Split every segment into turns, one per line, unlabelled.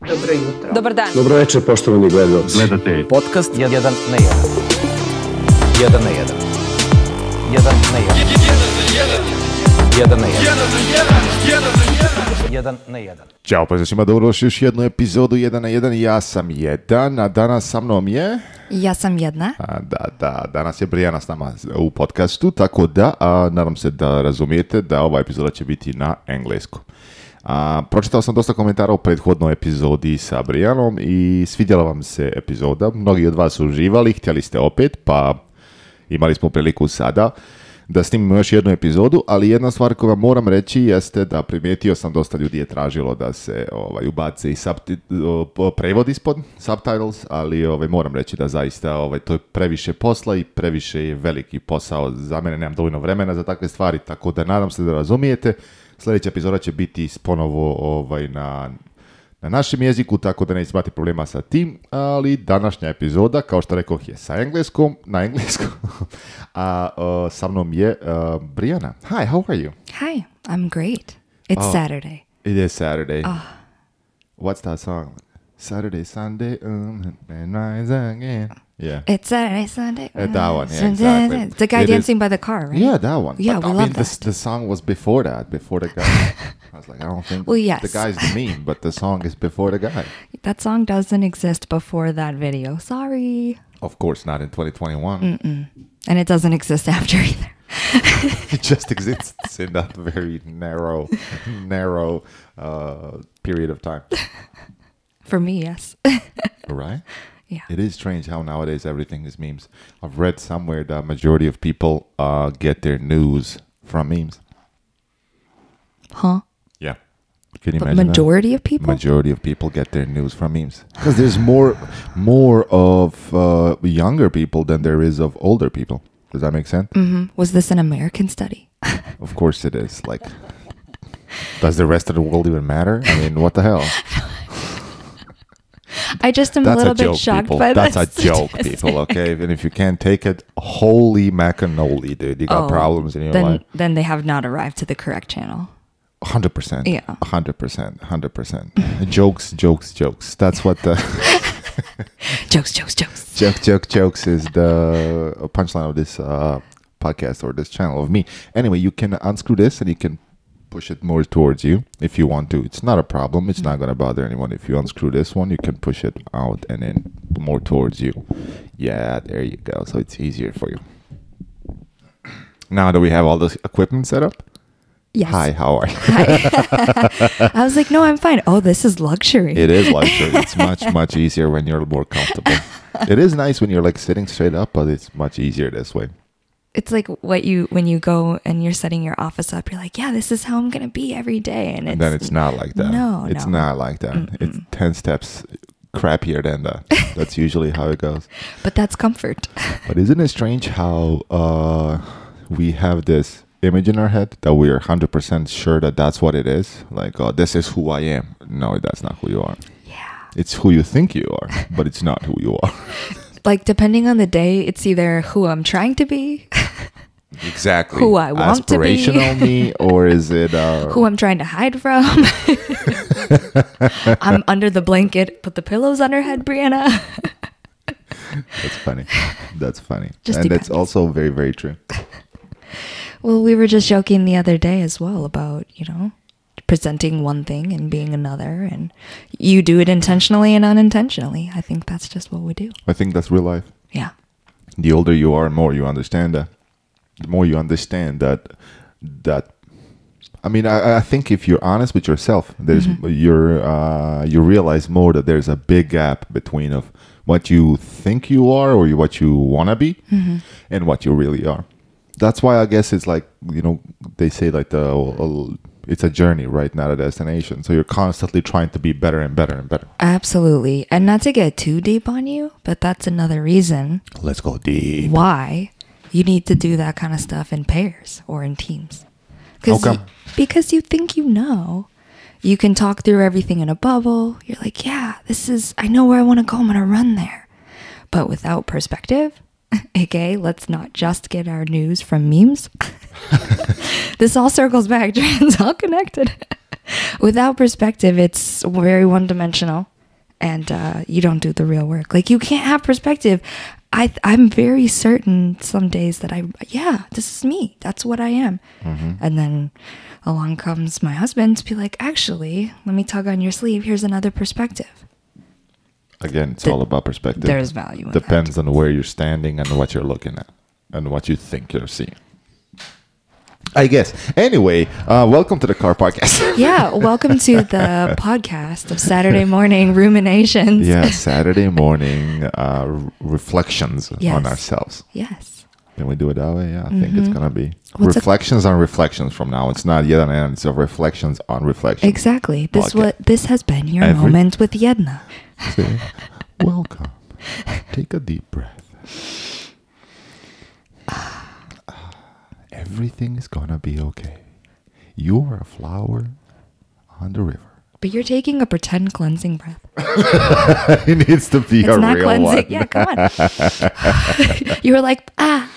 dobro jutro.
Dobar dan.
Dobro večer, poštovani gledalci.
Gledate
Podcast 1 na 1. 1 na 1. 1 na 1. 1 na 1. 1 na 1.
Ćao pozdrav da uroš pa još jednu epizodu 1 na 1 ja sam jedan, a danas sa mnom je...
Ja sam jedna.
A, da, da, danas je Brijana s nama u podcastu, tako da a, nadam se da razumijete da ova epizoda će biti na engleskom. A, pročitao sam dosta komentara u prethodnoj epizodi sa Brijanom i svidjela vam se epizoda. Mnogi od vas su uživali, htjeli ste opet, pa imali smo priliku sada da snimimo još jednu epizodu, ali jedna stvar koju vam moram reći jeste da primijetio sam dosta ljudi je tražilo da se ovaj, ubace i subti- o, prevod ispod, subtitles, ali ovaj, moram reći da zaista ovaj, to je previše posla i previše je veliki posao. Za mene nemam dovoljno vremena za takve stvari, tako da nadam se da razumijete. Sljedeća epizoda će biti ponovo ovaj, na na našem jeziku, tako da ne imate problema sa tim, ali današnja epizoda, kao što rekoh, je sa engleskom, na engleskom, a uh, sa mnom je uh, Brijana. Hi, how are you?
Hi, I'm great. It's
Oh.
Saturday.
It is Saturday.
Ah.
What's that song? Saturday, Sunday, um, and rise again. Yeah.
It's Saturday, Sunday.
Uh, that one, yeah, exactly.
It's the guy
It is-
dancing by the car, right?
Yeah, that one.
Yeah,
But,
we
I
love
mean, The,
that.
the song was before that, before the guy. I was like, I don't think
Well, yes.
the guy's the meme, but the song is before the guy.
That song doesn't exist before that video. Sorry.
Of course, not in 2021.
And it doesn't exist after either.
it just exists in that very narrow, narrow uh, period of time,
For me, yes.
right?
Yeah.
It is strange how nowadays everything is memes. I've read somewhere that majority of people uh, get their news from memes.
Huh?
Yeah. Can you
But
imagine? that?
majority of people?
majority of people get their news from memes because there's more more of uh, younger people than there is of older people. Does that make sense?
Mm. Was this an American study?
Of course it is. Like, does the rest of the world even matter? I mean, what the hell?
I just am a
That's
little
a
bit
joke,
shocked
people.
by
That's
this
a joke, people. Okay, and if you can't take it, holy macanoli, dude, you got problems in your
Oh, then,
life.
Then they have not arrived to the correct channel.
Hundred percent.
Yeah.
Hundred percent. Hundred percent. Jokes, jokes, jokes. That's what the
jokes, jokes, jokes.
joke, joke, jokes is the punchline of this uh, podcast or this channel of me. Anyway, you can unscrew this and you can push it more towards you if you want to. It's not a problem. It's not gonna bother anyone. If you unscrew this one, you can push it out and then more towards you. Yeah, there you go. So it's easier for you. Now that we have all this equipment set up,
Yes.
hi, how are you?
I was like, no, I'm fine. Oh, this is luxury.
It is luxury. it's much much easier when you're more comfortable. it is nice when you're like sitting straight up, but it's much easier this way.
it's like what you when you go and you're setting your office up you're like yeah this is how i'm gonna be every day and it's,
and then it's not like that.
no,
it's
no.
not like that. It's ten steps crappier than that. That's usually how it goes.
but that's comfort
But isn't it strange how uh, we have this image in our head that we are hundred percent sure that that's what it is? Like, oh, this is who I am. No, that's not who you are.
yeah
It's who you think you are, but it's not who you are.
like depending on the day it's either who i'm trying to be
Exactly.
Who I want to be.
Aspirational me, or is it uh,
who i'm trying to hide from i'm under the blanket put the pillows on her head brianna
That's funny. That's funny.
Just
and that's
depends.
also very, very true.
well we were just joking the other day as well about you know presenting one thing and being another and you do it intentionally and unintentionally i think that's just what we do
I think that's real life.
yeah
The older you are, more you understand that. The more you understand that, that. I mean, I, I think if you're honest with yourself, there's you're uh, you realize more that there's a big gap between of what you think you are or what you wanna be, and what you really are. That's why I guess it's like you know they say like the oh, it's a journey, right? Not a destination. So you're constantly trying to be better and better and better.
Absolutely. And not to get too deep on you, but that's another reason
Let's go deep.
why you need to do that kind of stuff in pairs or in teams. 'Cause
How
you-
come?
because you think you know. You can talk through everything in a bubble. You're like, yeah, this is, I know where I want to go. I'm going to run there. But without perspective, aka, let's not just get our news from memes. this all circles back, it's all connected. without perspective, it's very one dimensional and uh, you don't do the real work. Like you can't have perspective. I I'm very certain some days that I yeah this is me. That's what I am. And then along comes my husband to be like, actually, let me tug on your sleeve. Here's another perspective.
Again, it's
Th-
all about perspective.
there's value in that.
Depends on where you're standing and what you're looking at and what you think you're seeing. I guess. Anyway, uh, welcome to the car podcast.
Yeah, welcome to the podcast of Saturday morning ruminations.
yeah, Saturday morning uh, r- reflections
Yes.
on ourselves.
yes.
Can we do it that way? Yeah, I think it's gonna be
What's a-
reflections on reflections from now. It's not yet an end. It's a reflections on reflections.
Exactly. This
Podcast.
what this has been your
Every-
moment with Yedna.
Say, Welcome. Take a deep breath. Ah, Everything is gonna be okay. You are a flower on the river.
But you're taking a pretend cleansing breath.
it needs to be
It's
a
not
real
cleansing.
one.
Yeah, come on. you were like, ah,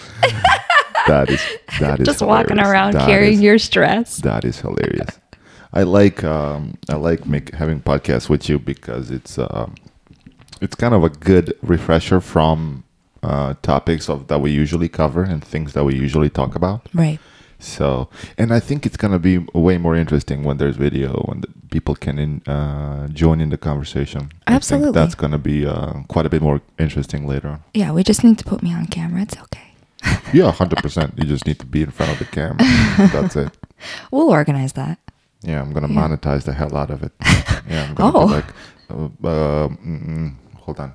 That is that is
just walking
hilarious.
around
That
carrying
is-
your stress.
That is hilarious. I like um, I like make, having podcasts with you because it's um, it's kind of a good refresher from uh, topics of that we usually cover and things that we usually talk about.
Right.
So, and I think it's gonna be way more interesting when there's video when the people can in, uh, join in the conversation. I
Absolutely.
think that's gonna be uh, quite a bit more interesting later on.
Yeah, we just need to put me on camera. It's okay.
Yeah, hundred percent. You just need to be in front of the camera. that's it.
We'll organize that.
Yeah, I'm gonna
Yeah.
monetize the hell out of it. Yeah, I'm gonna
Oh.
be like, uh, uh, mm, mm, hold on.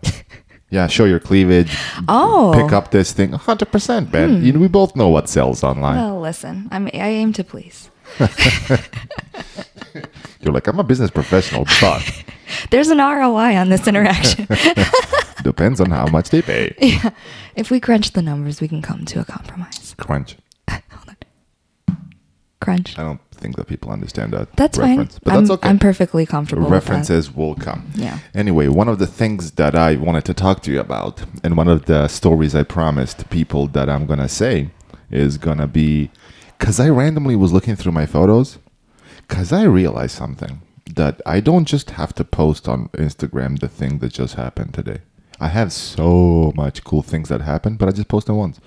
Yeah, show your cleavage.
Oh. Hmm.
pick up this thing. 100 percent, man. You know, we both know what sells online.
Well, listen, I'm, I aim to please.
You're like, I'm a business professional, but
There's an ROI on this interaction.
depends on how much they pay.
if we crunch the numbers, we can come to a compromise.
Crunch.
Hold on. Crunch.
I don't think that people understand that.
That's
reference,
fine.
but
I'm,
that's okay.
I'm perfectly comfortable. with that.
references will come.
Yeah.
Anyway, one of the things that I wanted to talk to you about, and one of the stories I promised people that I'm gonna say is gonna be, cause I randomly was looking through my photos, cause I realized something that I don't just have to post on Instagram the thing that just happened today. I have so much cool things that happened, but I just post them once.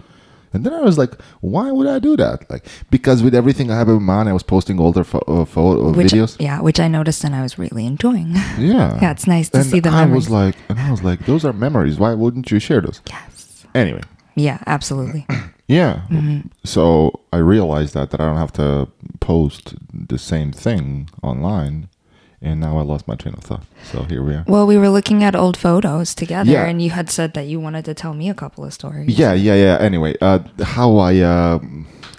And then I was like, why would I do that? Like, because with everything I have in mind, I was posting older pho- uh, photo uh,
which,
videos.
Yeah, which I noticed and I was really enjoying.
Yeah.
Yeah, it's nice to
and
see the
I
memories.
was like, and I was like, those are memories. Why wouldn't you share those?
yes. Mm-hmm.
Anyway,
Yeah, absolutely.
yeah. So I realized that that I don't have to post the same thing online, and now I lost my train of thought. So here we are.
Well, we were looking at old photos together,
Yeah.
and you had said that you wanted to tell me a couple of stories.
Yeah, yeah, yeah. Anyway, uh, how I uh,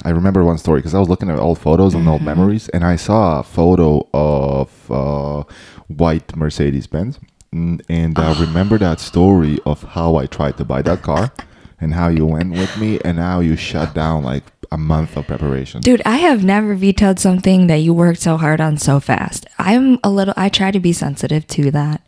I remember one story because I was looking at old photos and
Mm-hmm.
old memories, and I saw a photo of uh, white Mercedes Benz, and I
Ah.
remember that story of how I tried to buy that car, and how you went with me, and how you shut down like a month of preparation.
Dude, I have never vetoed something that you worked so hard on so fast. I'm a little, I try to be sensitive to that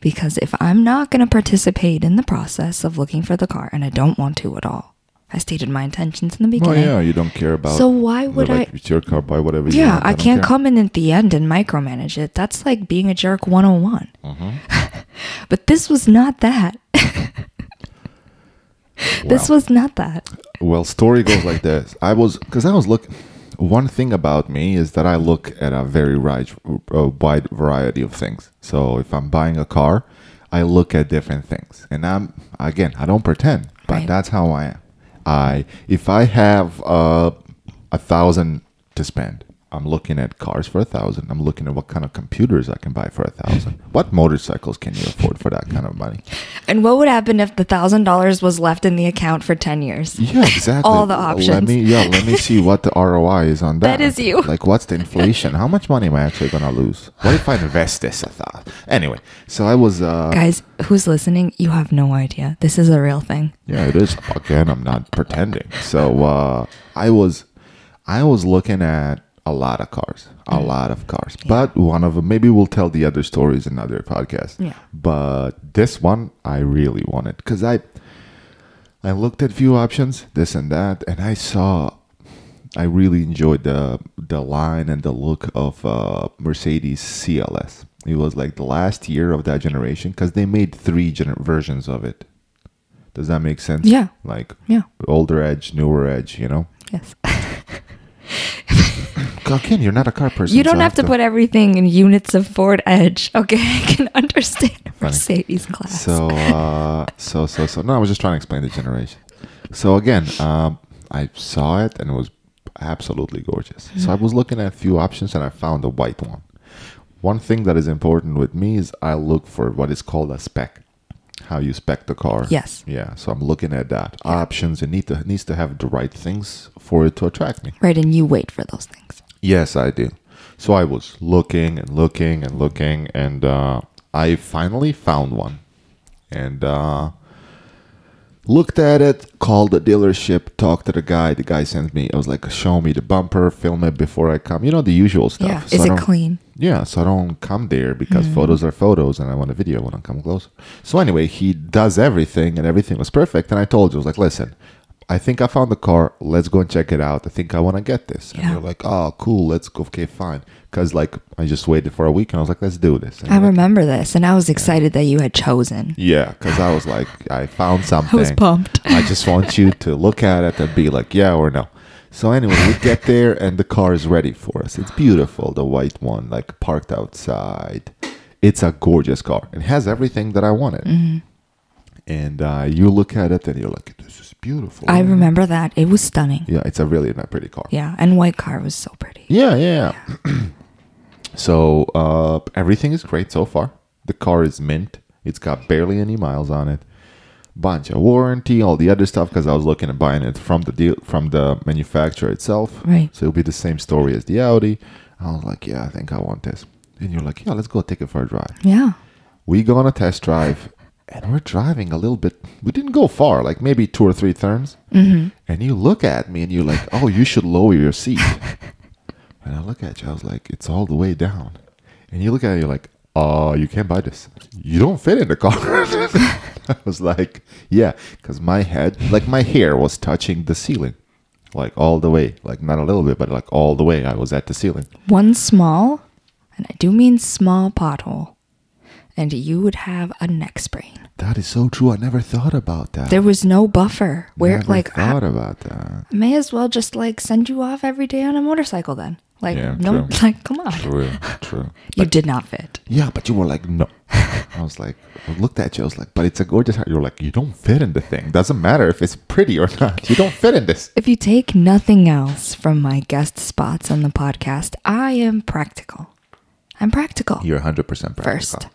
because if I'm not going to participate in the process of looking for the car, and I don't want to at all, I stated my intentions in the
Oh
beginning.
yeah, you don't care about.
So why
they're
would
like,
I-
It's your car, buy whatever. you
Yeah,
want,
I
don't
can't
care."
come in at the end and micromanage it. That's like being a jerk 101.
Mm-hmm.
but this was not that. This
Wow.
was not that.
Well, story goes like this. I was because I was looking. One thing about me is that I look at a very wide, a wide variety of things. So if I'm buying a car, I look at different things, and I'm again I don't pretend, but
Right.
that's how I am. I if I have uh, a thousand to spend, I'm looking at cars for a thousand. I'm looking at what kind of computers I can buy for a thousand. What motorcycles can you afford for that kind of money?
And what would happen if the $1,000 was left in the account for 10 years?
Yeah, exactly.
All the
Let
options.
me yeah, let me see what the ROI is on that.
That is you.
Like, what's the inflation? How much money am I actually gonna lose? What if I invest this? I thought. Anyway, so I was. Uh,
Guys, who's listening? You have no idea. This is a real thing.
yeah, it is. Again, I'm not pretending. So uh, I was, I was looking at a lot of cars, a
Mm.
lot of cars. But one of them, maybe we'll tell the other stories in another podcast.
Yeah.
But this one, I really wanted because I, I looked at few options, this and that, and I saw I really enjoyed the the line and the look of uh, Mercedes CLS. It was like the last year of that generation because they made three gener- versions of it. Does that make sense?
Yeah.
Like
Yeah.
older edge, newer edge. You know,
Yes.
God, Ken, you're not a car person.
You don't
so I
have to put everything in units of Ford Edge. Okay, I can understand Mercedes class.
So, uh, so, so, so. No, I was just trying to explain the generation. So again, um, I saw it and it was absolutely gorgeous. So I was looking at a few options and I found a white one. One thing that is important with me is I look for what is called a spec, how you spec the car.
Yes.
Yeah. So I'm looking at that options. It need to needs to have the right things for it to attract me.
right, and you wait for those things.
Yes, I do. So I was looking and looking and looking, and uh, I finally found one. And uh, looked at it, called the dealership, talked to the guy. The guy sent me, I was like, show me the bumper, film it before I come. You know, the usual stuff.
Yeah,
Oh, So
is
I
it
don't-
clean?
yeah, so I don't come there because
Hmm.
photos are photos and I want a video when I come close. So anyway, he does everything and everything was perfect. And I told you, I was like, listen, I think I found the car. Let's go and check it out. I think I want to get this. And
Yeah.
you're like, oh, cool. Let's go. Okay, fine. Because like I just waited for a week and I was like, let's do this. And
I
you're like,
remember this, and I was excited that you had chosen.
yeah, because I was like, I found something.
pumped.
I just want you to look at it and be like, yeah or no. So anyway, we get there and the car is ready for us. It's beautiful, the white one, like parked outside. It's a gorgeous car. It has everything that I wanted. And uh, you look at it and you're like, this is beautiful.
I remember that. It was stunning.
Yeah, it's a really not pretty car.
Yeah, and white car was so pretty.
Yeah, yeah. yeah. so uh, everything is great so far. The car is mint. It's got barely any miles on it. Bunch of warranty, all the other stuff, because I was looking at buying it from the deal from the manufacturer itself.
Right.
So it'll be the same story as the Audi. I was like, yeah, I think I want this. And you're like, yeah, let's go take it for a drive.
Yeah.
We go on a test drive, and we're driving a little bit. We didn't go far, like maybe two or three turns. Mm-hmm. And you look at me, and you're like, "Oh, you should lower your seat." and I look at you, I was like, "It's all the way down." And you look at it, you're like, "Oh, you can't buy this. You don't fit in the car." I was like, "Yeah," because my head, like my hair, was touching the ceiling, like all the way, like not a little bit, but like all the way. I was at the ceiling.
One small, and I do mean small pothole, and you would have a neck sprain.
That is so true. I never thought about that.
There was no buffer. Where,
never
like, I
thought about that.
may as well just like send you off every day on a motorcycle then. Like,
Yeah,
no,
true.
like, come on.
True, true.
You did not fit.
Yeah, but you were like, no. I was like, I looked at you. I was like, but it's a gorgeous hat. You were like, you don't fit in the thing. Doesn't matter if it's pretty or not. You don't fit in this.
If you take nothing else from my guest spots on the podcast, I am practical. I'm practical
You're 100% practical.
first.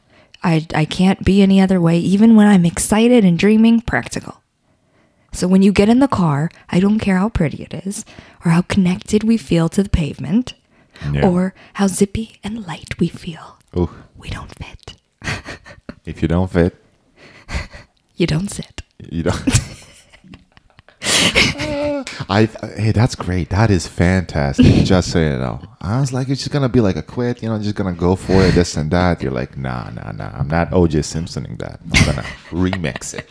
I, I can't be any other way, even when I'm excited and dreaming, practical. So when you get in the car, I don't care how pretty it is, or how connected we feel to the pavement,
Yeah.
or how zippy and light we feel.
Ooh,
We don't fit.
if you don't fit,
You don't sit.
you don't. I hey, that's great. That is fantastic. Just so you know, I was like, it's just gonna be like a quit. You know, just gonna go for it, this and that. You're like, nah, nah, nah. I'm not OJ Simpsoning that. I'm gonna remix it.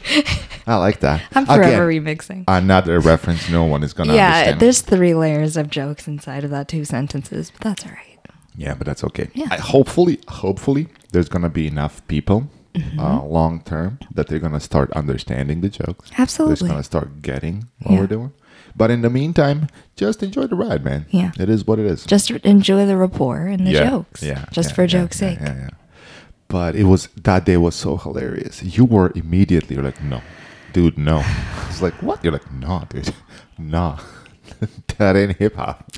I like that.
I'm
Again,
forever remixing.
another reference no one is gonna
yeah,
understand.
there's three layers of jokes inside of that two sentences, but that's all right.
yeah, but that's okay.
Yeah.
I, hopefully, hopefully, there's gonna be enough people
Mm-hmm.
uh, long term that they're gonna start understanding the jokes.
Absolutely.
they're gonna start getting what
Yeah.
we're doing. But in the meantime, just enjoy the ride, man.
Yeah.
it is what it is.
Just r- enjoy the rapport and the
yeah.
jokes.
Yeah,
Just
yeah,
for
yeah,
joke's
yeah,
sake.
Yeah, yeah. But it was that day was so hilarious. You were immediately you're like, no, dude, no. It's like what? You're like, nah, dude, nah. that ain't hip hop.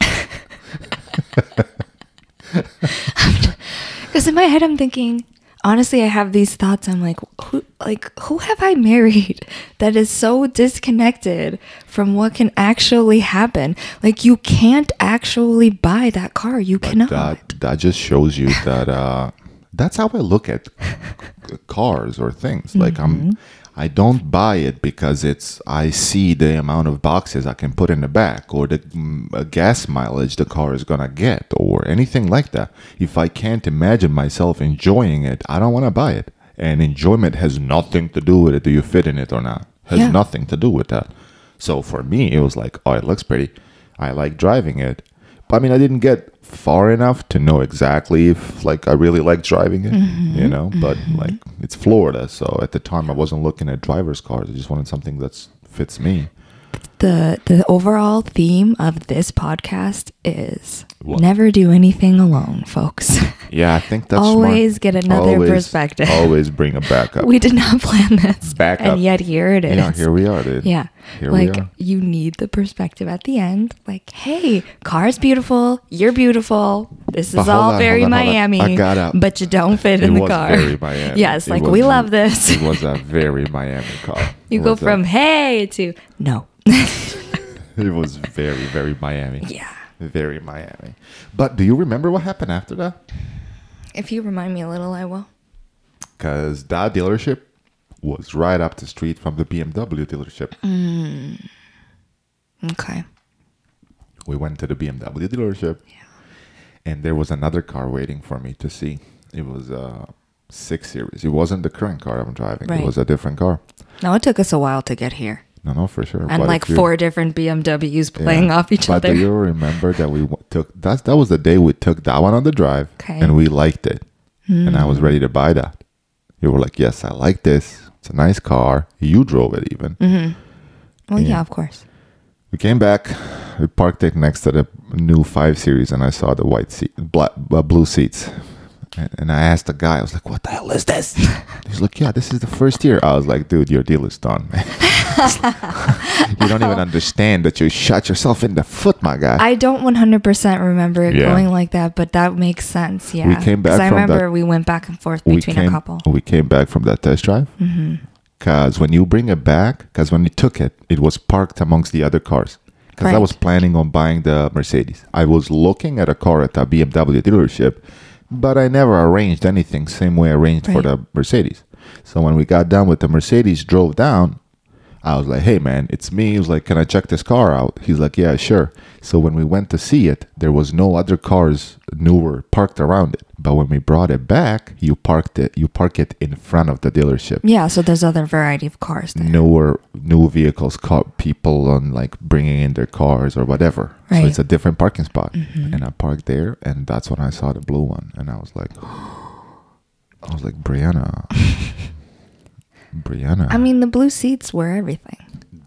Because in my head, I'm thinking, honestly, I have these thoughts. I'm like, who, like, who have I married that is so disconnected from what can actually happen? Like, you can't actually buy that car. You cannot.
that that just shows you that uh that's how i look at c- cars or things like i'm i don't buy it because it's i see the amount of boxes i can put in the back or the mm, uh, gas mileage the car is gonna get or anything like that if i can't imagine myself enjoying it i don't want to buy it and enjoyment has nothing to do with it do you fit in it or not has
Yeah.
nothing to do with that so for me it was like oh it looks pretty I like driving it. But I mean, I didn't get far enough to know exactly if like I really like driving it,
Mm-hmm.
you know. But like it's Florida, so at the time I wasn't looking at driver's cars. I just wanted something that fits me.
The the overall theme of this podcast is
What?
never do anything alone, folks.
Yeah, I think that's smart.
Always get another perspective.
Always bring a backup.
we did not plan this.
Back up.
And yet here it is.
yeah, here we are, dude.
Yeah.
here
like
we are.
you need the perspective at the end. Like, hey, car's beautiful, you're beautiful. This is
But hold
all
on,
very
hold on, hold on.
Miami.
I got out.
But you don't fit
It
in the
was
car.
very Miami.
Yes,
It
like
was
we
ve-
love this.
It was a very Miami car.
you
It
go
was a-
from hey to no.
it was very, very Miami.
yeah.
Very Miami. But do you remember what happened after that?
If you remind me a little, I will.
Because that dealership was right up the street from the BMW dealership.
Okay.
We went to the BMW dealership, and there was another car waiting for me to see. It was a six series. It wasn't the current car I'm driving.
Right.
It was a different car.
Now it took us a while to get here.
No, no, for sure.
And
But
like
if you-
four different BMWs
yeah.
playing off each
but
other.
do you remember that we w- took that? That was the day we took that one on the drive,
Okay. Hmm.
and we liked it, and I was ready to buy that. You were like, "Yes, I like this. It's a nice car." You drove it even.
well, yeah.
yeah.
of course.
We came back. We parked it next to the new five series, and I saw the white seat, black, uh, blue seats. And, and I asked the guy, I was like, "What the hell is this?" He's like, "Yeah, this is the first year." I was like, "Dude, your deal is done. you don't even understand that you shot yourself in the foot, my guy."
I don't 100% remember it
Yeah.
going like that, but that makes sense. Yeah.
came back
'Cause I
from
remember
that-
we went back and forth
we
between
came,
a couple. Mm-hmm.
We came back from that test drive. Because when you bring it back, because when you took it, it was parked amongst the other cars. Because I
Right.
was planning on buying the Mercedes. I was looking at a car at a BMW dealership, but I never arranged anything same way I arranged for
Right.
the Mercedes. So when we got done with the Mercedes, drove down, I was like, hey man, it's me. He was like, can I check this car out? He's like, yeah, sure. So when we went to see it, there was no other cars newer parked around it. But when we brought it back, you parked it. You park it in front of the dealership.
Yeah, so there's other variety of cars
Mm.
there.
Newer, new vehicles caught people on like bringing in their cars or whatever.
Right. Mm-hmm.
So it's a different parking spot. And I parked there, and that's when I saw the blue one, and I was like, I was like, Brianna, Brianna.
I mean, the blue seats were everything.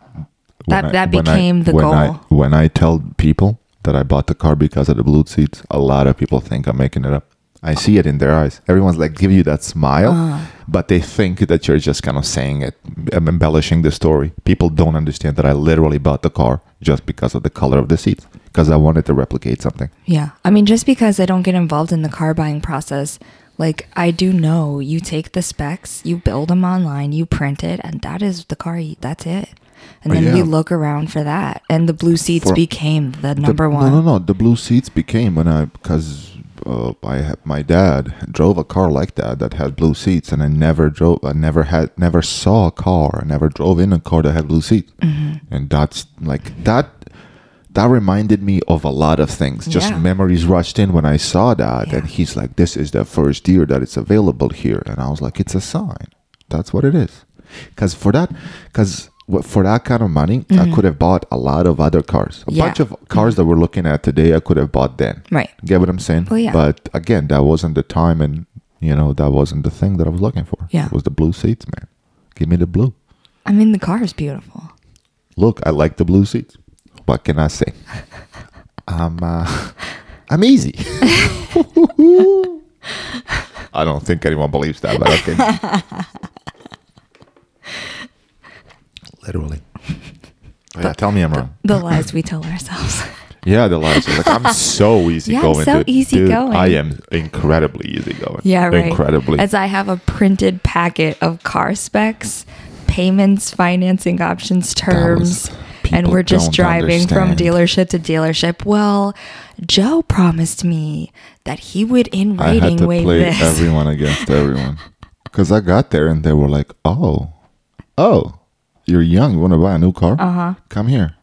when
That- that became the
when I,
goal.
when I tell people that I bought the car because of the blue seats, a lot of people think I'm making it up. I see it in their eyes. Everyone's like, give you that smile,
Uh-huh.
but they think that you're just kind of saying it, em- embellishing the story. People don't understand that I literally bought the car just because of the color of the seats, because I wanted to replicate something.
Yeah. I mean, just because I don't get involved in the car buying process, like I do know you take the specs, you build them online, you print it, and that is the car. You, that's it. And then we
Oh, Yeah.
look around for that. And the blue seats
For-
became the
The-
number one.
No, no, no. The blue seats became when I because uh, I had, my dad drove a car like that that had blue seats, and I never drove. I never had, never saw a car. I never drove in a car that had blue seats,
Mm-hmm.
and that's like that. That reminded me of a lot of things. Just
Yeah.
memories rushed in when I saw that, and
Yeah.
he's like, "This is the first year that it's available here," and I was like, "It's a sign. That's what it is." Because for that, because for that kind of money, I could have bought a lot of other cars, a
Mm-hmm. Yeah.
bunch of cars that we're looking at today I could have bought then.
Right.
Get what I'm saying?
Well, yeah.
But again, that wasn't the time and you know, that wasn't the thing that I was looking for.
Yeah.
It was the blue seats, man. Give me the blue.
I mean, the car is beautiful.
Look, I like the blue seats. What can I say? I'm uh, I'm easy. I don't think anyone believes that, but okay. Literally. Oh, yeah, tell me I'm wrong.
The lies we tell ourselves.
Yeah, the lies. Like I'm so easy going.
so
dude.
easy
Dude,
going.
I am incredibly easy going.
Yeah, right.
Incredibly.
As I have a printed packet of car specs, payments, financing options, terms, and
people
we're just
don't
driving
understand.
from dealership to dealership. Well, Joe promised me that he would in
I had
writing
to
waive
play
this.
everyone against everyone because I got there and they were like, "Oh, oh, you're young. You want to buy a new car? Uh
Uh-huh.
huh. Come here."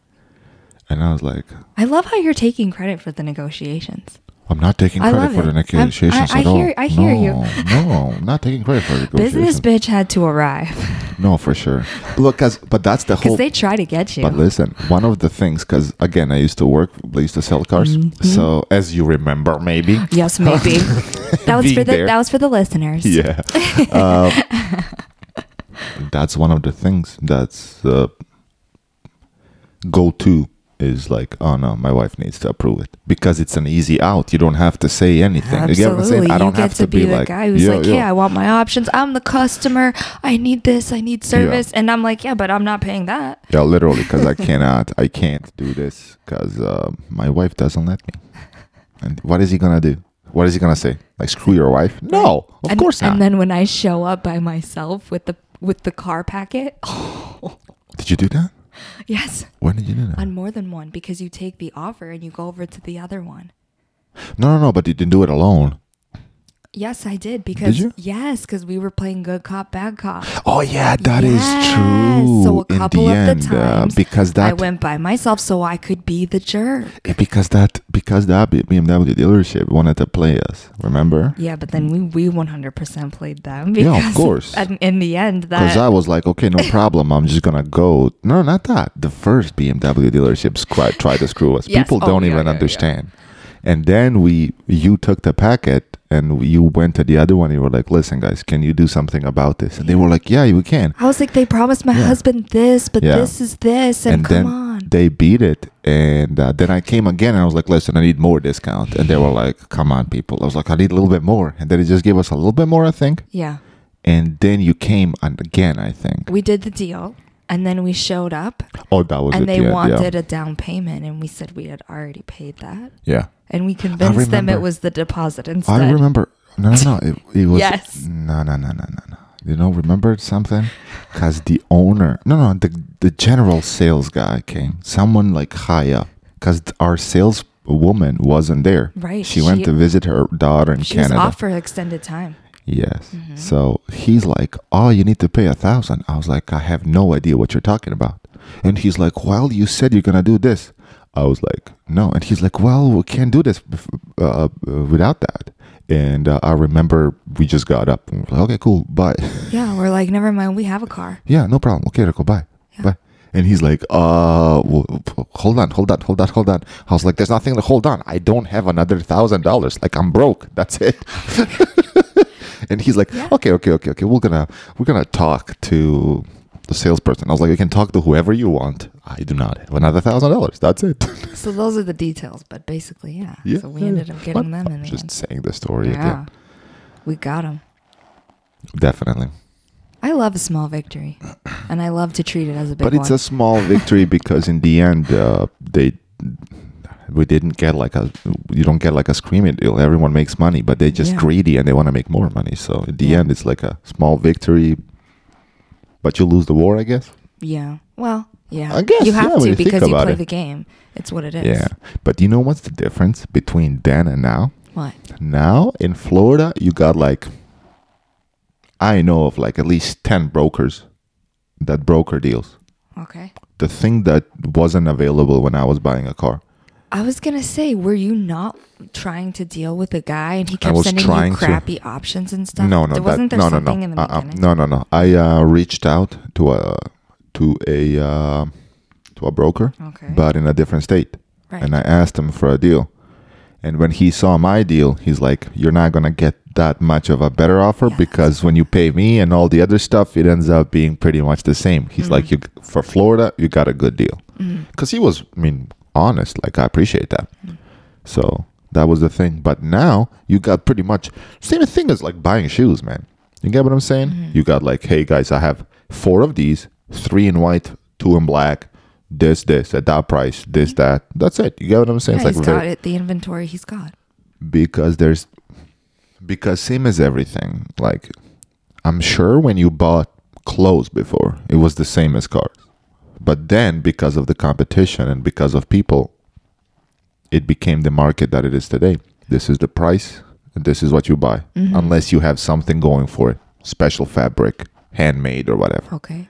And I was like,
I love how you're taking credit for the negotiations.
"I'm not taking
I
credit
love
for
it. I'm-
the
I-
negotiations
I
at all."
hear- I hear you.
No, no, I'm not taking credit for the negotiations.
Business bitch had to arrive.
No, for sure. Look, cause, but that's the whole.
because they try to get you.
But listen, one of the things, because again, I used to work, I used to sell cars.
Mm-hmm.
So, as you remember, maybe.
yes, maybe. that was
Being
for the
there.
that was for the listeners.
Yeah. Um, that's one of the things that's uh, go to is like, oh no, my wife needs to approve it because it's an easy out. You don't have to say anything. You get what I'm saying?
Absolutely.
I
you
don't
get
have
to, be, the
like,
guy who's
"Yo,
like,
yo."
yeah, I want my options. I'm the customer. I need this. I need service. And I'm like, yeah, but I'm not paying that.
Yeah, literally, because I cannot, I can't do this because uh, my wife doesn't let me. And what is he gonna do? What is he gonna say? Like screw your wife? No, of
and,
course not.
And then when I show up by myself with the with the car packet, oh,
did you do that?
yes,
When did you do that?
on more than one because you take the offer and you go over to the other one.
no, no, no. But you didn't do it alone.
Yes, I did because
you?
yes, because we were playing good cop, bad cop.
Oh yeah, that is
Yes.
true.
So a couple
in the
of
end,
the
uh,
times
because that
I went by myself so I could be the jerk.
because that because that BMW dealership wanted to play us. Remember?
Yeah, but then we we 100% played them because
Yeah, of course.
And in the end
Because
that
I was like, okay, no problem. I'm just gonna go. No, not that. The first BMW dealerships cri- tried to screw us.
Yes.
People
Oh,
don't
yeah,
even
yeah, yeah.
understand. And then we, you took the packet and you went to the other one. You were like, listen, guys, can you do something about this? And they were like, yeah, we can.
I was like they promised my
Yeah.
husband this, but
Yeah.
this is this and,
and
come
then
on.
they beat it and uh, then i came again and i was like listen i need more discount and they were like come on people i was like i need a little bit more and then they just gave us a little bit more i think
yeah.
and then you came and again i think
We did the deal and then we showed up
oh that was
and
it,
they
yeah,
wanted a down payment and we said we had already paid that
yeah,
and we convinced them it
remember.
was the deposit
yeah.
instead.
i remember no no no it, it was
Yes.
no no no no no no you know remember something because the owner no no the, the general sales guy came someone like high up because our saleswoman wasn't there.
Right,
She, went
she-
to visit her daughter in
She was
Canada.
off for extended time.
Yes. So he's like, "Oh, you need to pay a thousand. I was like, "I have no idea what you're talking about." And he's like, "Well, you said you're gonna do this." I was like, "No." And he's like, "Well, we can't do this bef- uh, uh, without that." And uh, I remember we just got up. And we're like, okay, cool. Bye.
Yeah, we're like, never mind, we have a car.
yeah, no problem. Okay, Rico. Bye. Bye. And he's like, "Uh, w- w- hold on, hold on, hold on, hold on." I was like, "There's nothing to hold on. I don't have another thousand dollars. Like I'm broke. That's it." and he's like,
Yeah.
"Okay, okay, okay, okay. We're gonna we're gonna talk to the salesperson." I was like, "You can talk to whoever you want. I do not have another thousand dollars. That's it."
So those are the details, but basically, yeah.
Yeah,
So we
yeah,
ended
yeah.
up getting
But
them in
I'm
the
just
end.
saying the story.
Yeah.
Again.
We got them.
Definitely.
I love a small victory, and I love to treat it as a big
but it's
one.
a small victory because in the end uh, they we didn't get like a you don't get like a screaming deal everyone makes money but they're just
Yeah.
greedy and they want to make more money so in the
Yeah.
end it's like a small victory but you lose the war i guess
yeah. Well, yeah.
I guess,
you
yeah,
have
when
to
you think
because you
about
play
it.
the game. It's what it is.
yeah but you know what's the difference between then and now
What?
now in florida you got like i know of like at least 10 brokers that broker deals
Okay.
the thing that wasn't available when i was buying a car
I was gonna say, were you not trying to deal with a guy, and he kept
was
sending
trying
you
to.
crappy options and stuff?
No, no,
There-
that,
wasn't there
no, no,
something
no,
in the
uh-uh,
beginning?
no, no, no. I uh, reached out to a to a uh, to a broker,
Okay.
but in a different state,
Right.
and I asked him for a deal. And when he saw my deal, he's like, "You're not gonna get that much of a better offer because when you pay me and all the other stuff, it ends up being pretty much the same." He's
Mm.
like, "You for Florida, you got a good deal," because he was, I mean, honest. Like I appreciate that.
Mm.
So that was the thing. But now you got pretty much same thing as like buying shoes, man. You get what I'm saying?
Mm-hmm.
You got like, hey guys, I have four of these, three in white, two in black, this, this, at that price, this, that. That's it. You get what I'm saying?
Mm-hmm. Yeah,
it's
he's
like
got
very-
it. The inventory he's got.
because there's because same as everything, like I'm sure when you bought clothes before, it was the same as cars. But then because of the competition and because of people, it became the market that it is today. This is the price, and this is what you buy, unless you have something going for it, special fabric, handmade or whatever.
Okay.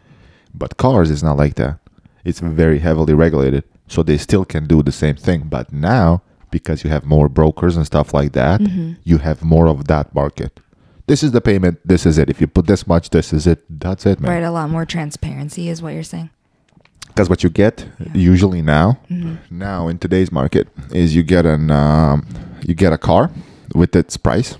But cars is not like that. It's very heavily regulated, so they still can do the same thing. But
Mm-hmm.
now, because you have more brokers and stuff like that, you have more of that market. This is the payment. This is it. If you put this much, this is it. That's it,
Right,
man.
a lot more transparency is what you're saying.
Because what you get usually now,
Mm-hmm.
now in today's market, is you get an um, you get a car with its price,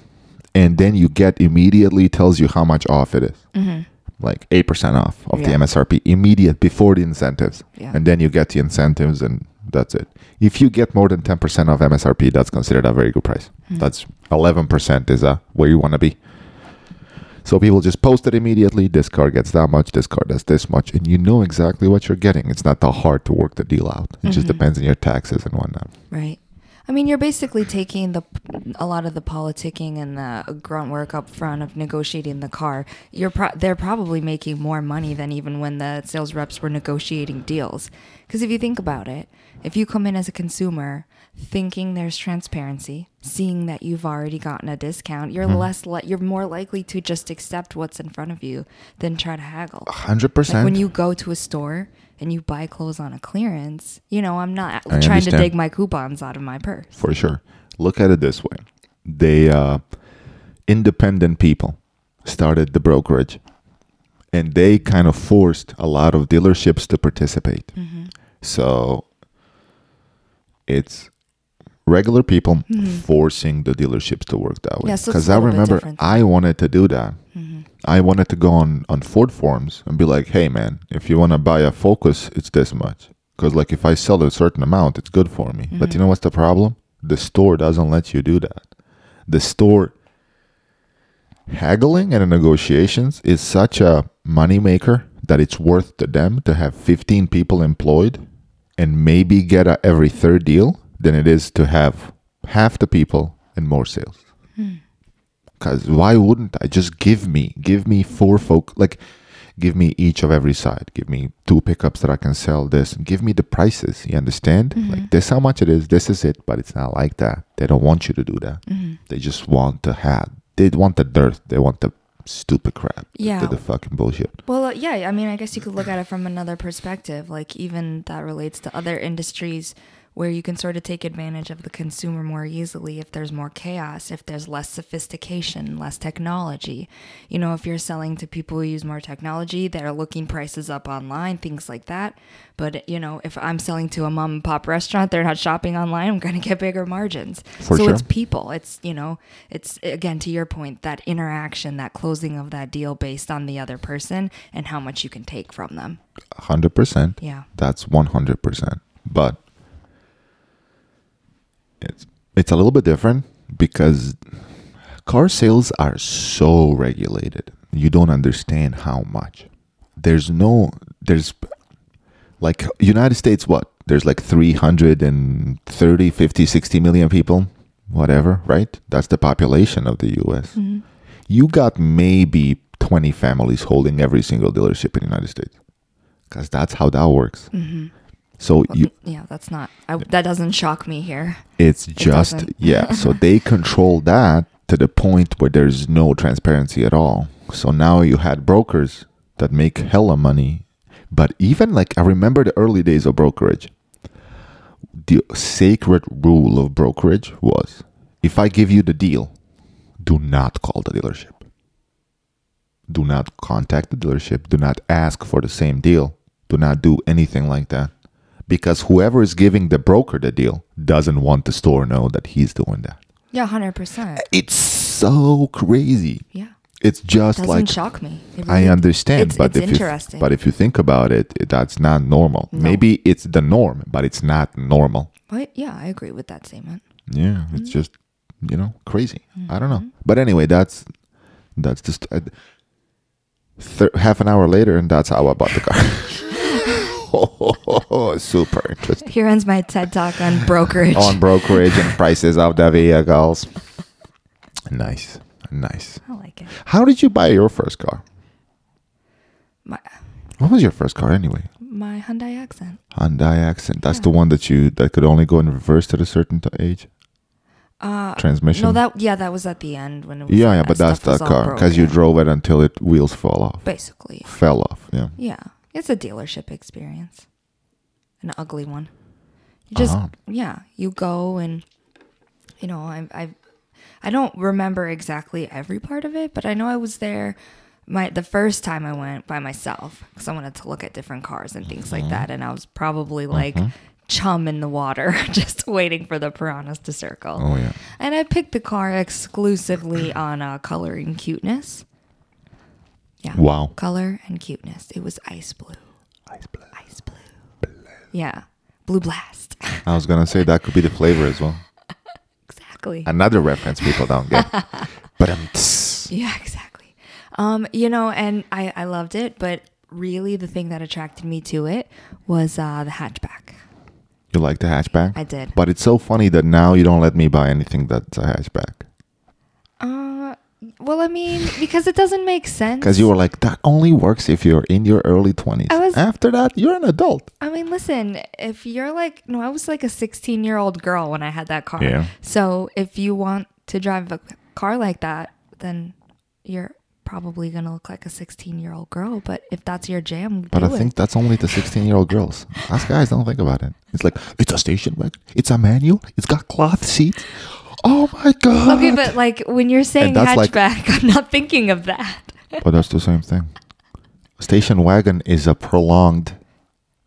and then you get immediately tells you how much off it is. Like eight percent off of the
Mm-hmm. Yeah.
MSRP immediate before the incentives,
Yeah.
and then you get the incentives, and that's it. If you get more than ten percent of MSRP, that's considered a very good price.
Hmm.
That's eleven percent is uh, where you want to be. So people just post it immediately. This car gets that much. This car does this much, and you know exactly what you're getting. It's not that hard to work the deal out. It
Mm-hmm.
just depends on your taxes and whatnot.
Right. I mean, you're basically taking the a lot of the politicking and the grunt work up front of negotiating the car. You're pro- they're probably making more money than even when the sales reps were negotiating deals. Because if you think about it, if you come in as a consumer thinking there's transparency, seeing that you've already gotten a discount, you're less li- you're more likely to just accept what's in front of you than try to haggle.
Hundred
Like
percent.
when you go to a store and you buy clothes on a clearance, you know, I'm not
I
trying to
understand.
dig my coupons out of my purse.
for sure. Look at it this way: they uh, independent people started the brokerage, and they kind of forced a lot of dealerships to participate.
Mm-hmm.
So it's regular people forcing the dealerships to work that way.
Mm-hmm. Yeah, so it's
Because
a
I
little bit
remember
different. Mm-hmm.
I wanted to do that. I wanted to go on on Ford forums and be like, "Hey, man, if you want to buy a Focus, it's this much." Because like if I sell a certain amount, it's good for me.
Mm-hmm.
But you know what's the problem? The store doesn't let you do that. The store haggling and negotiations is such a moneymaker that it's worth to them to have 15 people employed and maybe get a every third deal than it is to have half the people and more sales. Because why wouldn't I just give me, give me four folk, like give me each of every side, give me two pickups that I can sell this, and give me the prices. You understand? Like this, how much it is, this is it, but it's not like that. They don't want you to do that. They just want to have, they want the dirt, they want the stupid crap, the-
Yeah.
the, the fucking bullshit.
Well, uh, yeah, I mean, I guess you could look at it from another perspective. Like, even that relates to other industries where you can sort of take advantage of the consumer more easily if there's more chaos, if there's less sophistication, less technology. You know, if you're selling to people who use more technology that are looking prices up online, things like that. But, you know, if I'm selling to a mom and pop restaurant, they're not shopping online, I'm going to get bigger margins.
For
so
sure.
it's people. It's, you know, it's again to your point, that interaction, that closing of that deal based on the other person and how much you can take from them.
100%.
Yeah.
That's 100%. But it's it's a little bit different because car sales are so regulated. You don't understand how much. There's no there's like United States what? There's like 330 50 60 million people, whatever, right? That's the population of the US. You got maybe 20 families holding every single dealership in the United States because that's how that works. So you,
yeah, that's not, I, that doesn't shock me here.
it's just
doesn't.
yeah. so they control that to the point where there's no transparency at all. So now you had brokers that make hella money, but even like I remember the early days of brokerage. The sacred rule of brokerage was: if I give you the deal, do not call the dealership. Do not contact the dealership. Do not ask for the same deal. Do not do anything like that. Because whoever is giving the broker the deal doesn't want the store know that he's doing that.
Yeah, 100%.
It's so crazy.
Yeah.
It's just
Doesn't
like
shock me. It
I uh,
really-
understand,
It's,
but
it's
if
interesting.
You, but if you think about it, it- that's not normal. Maybe it's the norm, but it's not normal.
But yeah, I agree with that statement.
Yeah,
Mm.
it's just you know crazy. I don't know,
Mm-hmm.
but anyway, that's that's just uh, thir- half an hour later, and that's how I bought the car. Oh, super interesting
Here ends my TED talk on brokerage.
on brokerage and prices of the vehicles. Nice, nice.
I like it.
How did you buy your first car?
My,
What was your first car anyway?
my Hyundai accent.
Hyundai Accent. That's the one that you that could only go in reverse at a certain t- age.
Uh,
Transmission.
no, that, yeah, that was at the end when it was.
yeah,
like
yeah,
that
but that's
stuff
the
was all
car because you
broken.
drove it until it wheels fall off,
Basically.
fell off. Yeah.
Yeah, it's a dealership experience, an ugly one. You just
Ah.
yeah, you go and you know I I I don't remember exactly every part of it, but I know I was there my the first time I went by myself because I wanted to look at different cars and things like that, and I was probably like chum in the water, just waiting for the piranhas to circle.
Oh, yeah.
And I picked the car exclusively on uh, color and cuteness. Yeah.
Wow.
Color and cuteness. It was ice blue.
Ice blue.
Ice blue. Yeah. Blue blast.
I was gonna say that could be the flavor as well.
exactly.
Another reference people don't get. But um,
Yeah, exactly. Um, you know, and I, I loved it, but really the thing that attracted me to it was uh, the hatchback.
you like the hatchback?
I did.
But it's so funny that now you don't let me buy anything that's a hatchback.
Uh, well, I mean, because it doesn't make sense.
Because you were like, that only works if you're in your early 20s.
I was-
After that, you're an adult.
I mean, listen, if you're like, no, I was like a 16 year old girl when I had that car.
Yeah.
So if you want to drive a car like that, then you're probably going to look like a 16 year old girl. But if that's your jam,
But
do
I think
it.
that's only the 16 year old girls. Us guys don't think about it. It's like, it's a station wagon, it's a manual, it's got cloth seats. Oh my God.
Okay, but like when you're saying
that's like-
hatchback, I'm not thinking of that.
But that's the same thing. Station wagon is a prolonged.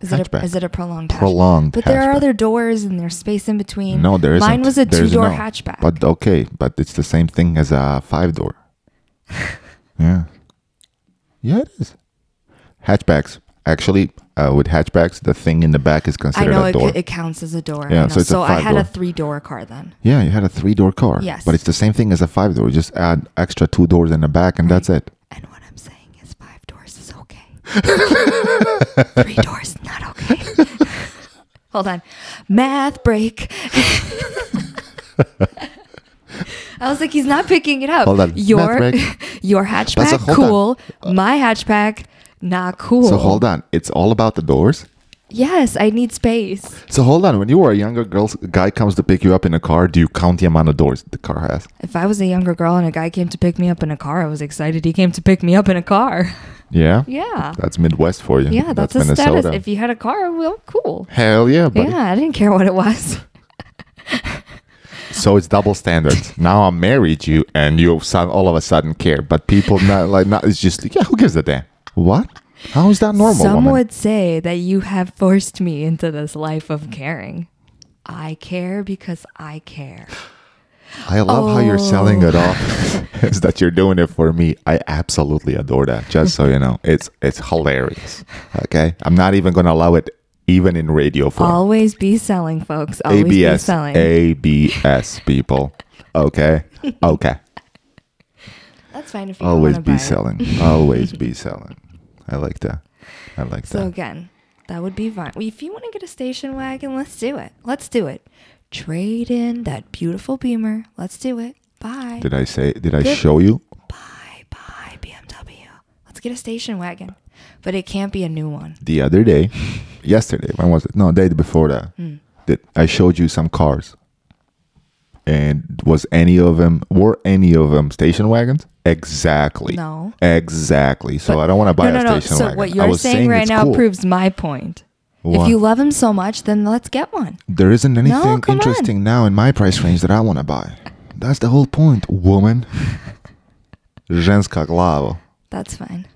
Is it,
Hatchback.
a, is it a prolonged hatchback?
Prolonged
But there are
hatchback.
other doors and there's space in between.
No, there isn't.
Mine was a
There
two
is
door
no.
hatchback.
But okay, but it's the same thing as a five door. yeah. Yeah, it is. Hatchbacks. Actually, uh, with hatchbacks, the thing in the back is
I
considered
know
a
it,
door.
c- it counts as a door. I
Yeah,
know.
so it's a
I had a
five-door.
three door car then.
yeah, you had a three door car.
Yes.
But it's the same thing as a five door. You just add extra two doors in the back, and that's it.
And what I'm saying is five doors is okay. Three doors not okay. Hold on. Math break. I was like, he's not picking it up.
Hold on. Math
Your
break.
your hatchback,
hold on. Uh,
cool. My hatchback, not cool.
So hold on. It's all about the doors.
Yes, I need space.
So hold on. When you were a younger girl, a guy comes to pick you up in a car. Do you count the amount of doors the car has?
If I was a younger girl and a guy came to pick me up in a car, I was excited he came to pick me up in a car.
Yeah.
Yeah.
That's Midwest for you.
Yeah, that's, a status. If you had a car, well, cool.
Hell yeah, buddy.
Yeah, I didn't care what it was.
So it's double standards. now I married you, and you son- all of a sudden care, but people not like not. It's just like, yeah, who gives a damn? What? How is that normal?
Some
woman?
would say that you have forced me into this life of caring. I care because I care.
I love how you're selling it
Oh.
off. is that you're doing it for me? I absolutely adore that. Just so you know, it's it's hilarious. Okay, I'm not even gonna allow it, even in radio form.
Always be selling, folks. Always be
ABS,
selling.
ABS, people. Okay, okay.
That's fine if you
Always
want
be selling. Always be selling. I like that. I like
So
that.
again, that would be fine. Well, if you want to get a station wagon, let's do it. Let's do it. Trade in that beautiful Beamer. Let's do it. Bye.
Did I say? Did I
Good.
show you?
Bye. Bye. BMW. Let's get a station wagon, but it can't be a new one.
the other day, yesterday, when was it? No, day before that,
Hmm.
that I showed you some cars. And was any of them were any of them station wagons? Exactly.
No.
Exactly. So I don't want to buy
no, no,
a
no.
station
so
wagon.
what
I
you're
was
saying, right
it's
now
cool.
proves my point.
What?
If you love him so much, then let's get one.
there isn't anything
come on.
interesting now in my price range that I want to buy. That's the whole point, woman. Женская глава.
That's fine.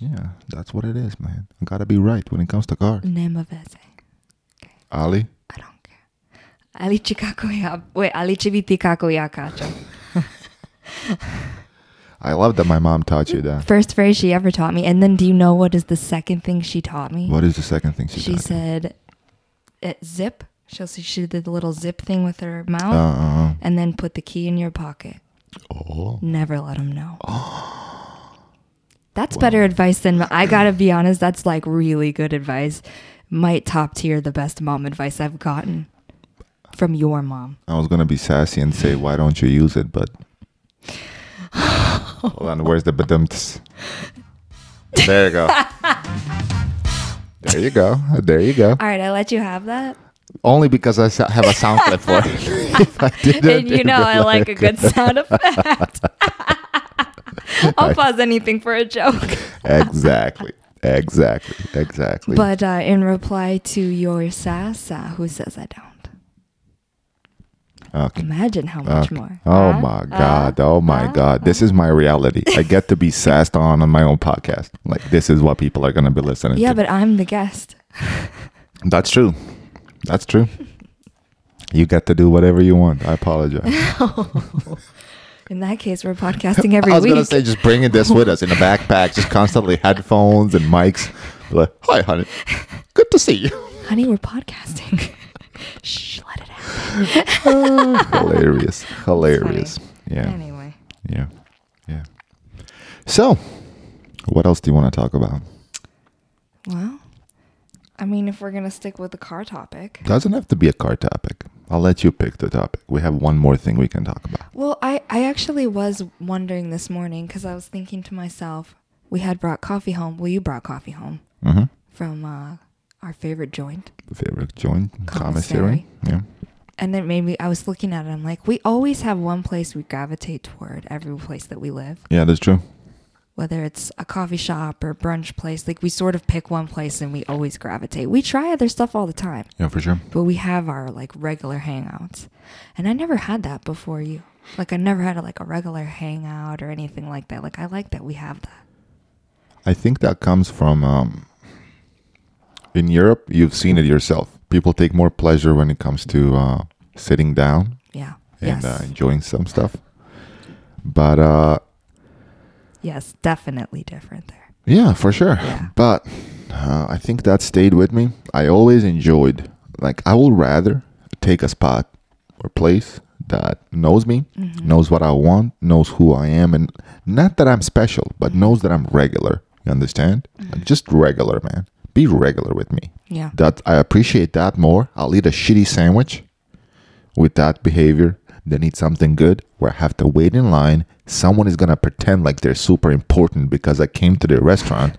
Yeah, that's what it is, man. I gotta be right when it comes to cars.
Name of essay.
Ali.
I don't care. Ali Chicago ya wait, Ali Chiviti kako ya kacho.
I love that my mom taught you that.
First phrase she ever taught me. And then do you know what is the second thing she taught me?
What is the second thing she,
Mm. she
taught you?
said it, zip. She'll see she did the little zip thing with her mouth
Uh,
and then put the key in your pocket.
oh.
Never let them know. That's better advice than I gotta be honest. That's like really good advice. Might top tier the best mom advice I've gotten from your mom.
I was gonna be sassy and say, "Why don't you use it?" But hold on, where's the badumts? There you go. there you go. There you go.
All right, I let you have that.
Only because I sa- have a sound clip for it. if I didn't,
And you
it'd
know
be
I like a good sound effect. I'll pause anything for a joke.
exactly, exactly, exactly.
But uh, in reply to your sasa, who says I don't?
Okay.
Imagine how much more.
Oh
Huh? Uh,
my god! oh my god! This is my reality. I get to be sassed on on my own podcast. Like this is what people are gonna be listening
Yeah,
to.
but I'm the guest.
That's true. That's true. You get to do whatever you want. I apologize.
In that case, we're podcasting every
I was
week.
gonna say just bringing this with us in a backpack, just constantly headphones and mics. Like, hi, honey. Good to see you.
Honey, we're podcasting. Shh, let it out.
hilarious, hilarious. Yeah,
Anyway,
yeah, yeah. So, what else do you want to talk about?
well, I mean, if we're gonna stick with the car topic,
Doesn't have to be a car topic. I'll let you pick the topic. We have one more thing we can talk about.
Well, I, I actually was wondering this morning because I was thinking to myself, we had brought coffee home. Well, you brought coffee home
Mm-hmm.
from uh, our favorite joint.
Favorite joint
Commissary.
commissary. Yeah.
And then maybe I was looking at it. I'm like, we always have one place we gravitate toward every place that we live,
Yeah, that's true.
whether it's a coffee shop or brunch place. Like, we sort of pick one place and we always gravitate. We try other stuff all the time,
Yeah, for sure.
but we have our like regular hangouts. And I never had that before you. Like, I never had like a regular hangout or anything like that. Like, I like that we have that.
I think that comes from um, in Europe. You've seen it yourself. People take more pleasure when it comes to uh, sitting down
Yeah.
and
yes.
uh, enjoying some stuff. But uh,
yes, definitely different there.
yeah, for sure.
Yeah.
But uh, I think that stayed with me. I always enjoyed. Like I would rather take a spot or place that knows me, knows what I want, knows who I am, and not that I'm special, but knows that I'm regular. You understand? Like, just regular, man. Be regular with me.
Yeah.
that I appreciate that more. I'll eat a shitty sandwich with that behavior than eat something good where I have to wait in line. Someone is gonna pretend like they're super important because I came to the restaurant.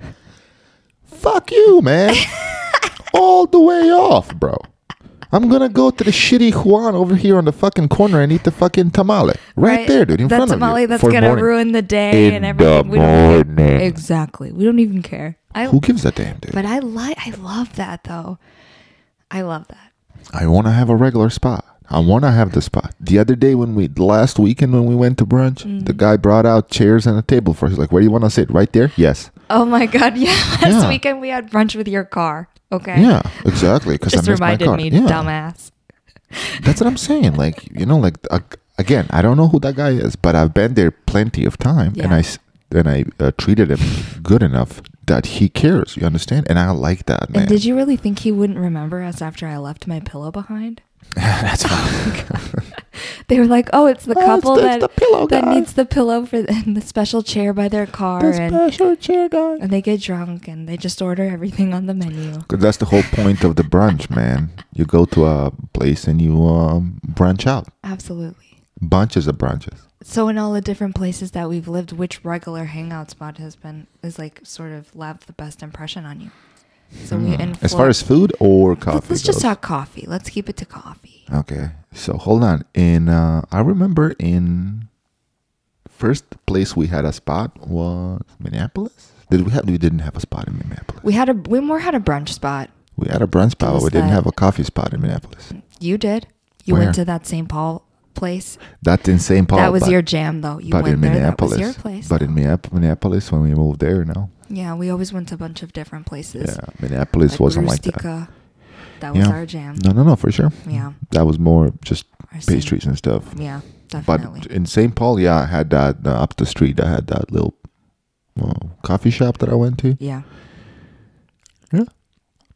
Fuck you, man. All the way off, bro. I'm gonna go to the shitty Juan over here on the fucking corner and eat the fucking tamale. Right, there, dude, in
that
front
tamale
of you.
That's
for
gonna
morning.
ruin the day
In
and
the
everything. we don't even-
morning.
exactly. We don't even care. I
Who gives a damn, dude?
but I like I love that though. I love that.
I want to have a regular spot. I want to have the spot. The other day when we last weekend when we went to brunch,
Mm-hmm.
the guy brought out chairs and a table for us. He's Like, where do you want to sit? Right there? Yes.
Oh my god, yeah. Last
Yeah.
weekend we had brunch with your car. Okay.
Yeah, exactly. Because I
Just
missed my
reminded
car.
me,
yeah,
dumbass.
that's what I'm saying. Like, you know, like uh, again, I don't know who that guy is, but I've been there plenty of time, and
Yeah.
I s- and I uh, treated him good enough that he cares. You understand? And I like that, man.
And did you really think he wouldn't remember us after I left my pillow behind?
that's fine.
They were like, "Oh, it's the
Oh, it's
couple
the-
that
it's the pillow
that
guy.
needs the pillow for the, and the special chair by their car
The
and
special chair guy.
and they get drunk and they just order everything on the menu.
'Cause that's the whole point of the brunch, man. You go to a place and you um, brunch out.
Absolutely.
Bunches of brunches.
So in all the different places that we've lived, which regular hangout spot has been is like sort of left the best impression on you? So we in
Hmm. As far
Flor-
as food or coffee.
let's, let's just
goes. Uh.
talk coffee. Let's keep it to coffee.
Okay. So hold on. In uh, I remember in first place we had a spot was Minneapolis. Did we have? We didn't have a spot in Minneapolis.
We had a we more had a brunch spot.
We had a brunch spot, but
was
we didn't
that?
have a coffee spot in Minneapolis.
You did. You
Where?
went to that St. Paul place.
That's in St. Paul.
that was
but,
your jam though. You
but
went
in
there.
Minneapolis.
That was your place.
But in Minneap- Minneapolis, when we moved there, no.
yeah, we always went to a bunch of different places.
Yeah, Minneapolis wasn't like that.
Rustica. That was
Yeah.
our jam.
No, no, no, for sure.
Yeah.
That was more just
Our St.
pastries and stuff.
Yeah,
But
definitely.
in St. Paul, yeah, I had that uh, up the street. I had that little uh, coffee shop that I went to.
yeah.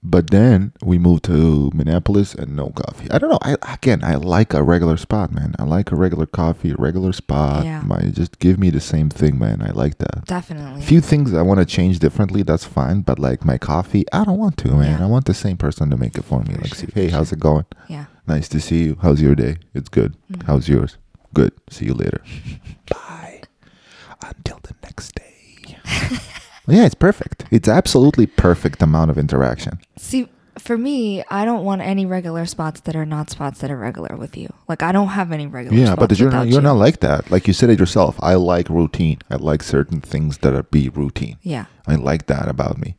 But then we moved to Minneapolis and no coffee. I don't know. I again, I like a regular spot, man. I like a regular coffee, a regular spot.
Yeah.
My, just give me the same thing, man. I like that.
Definitely.
Few things I want to change differently. That's fine. But like my coffee, I don't want to, man.
Yeah.
I want the same person to make it for me.
For
like,
sure,
say, hey,
for
how's it going?
yeah.
Nice to see you. How's your day? It's good.
Mhm.
How's yours? Good. See you later. Bye. Until the next day. yeah, it's perfect. It's absolutely perfect amount of interaction.
See, for me, I don't want any regular spots that are not spots that are regular with you. Like I don't have any regular.
yeah,
spots
but you're not
without
you're
you.
not like that. Like you said it yourself. I like routine. I like certain things that are be routine.
Yeah,
I like that about me.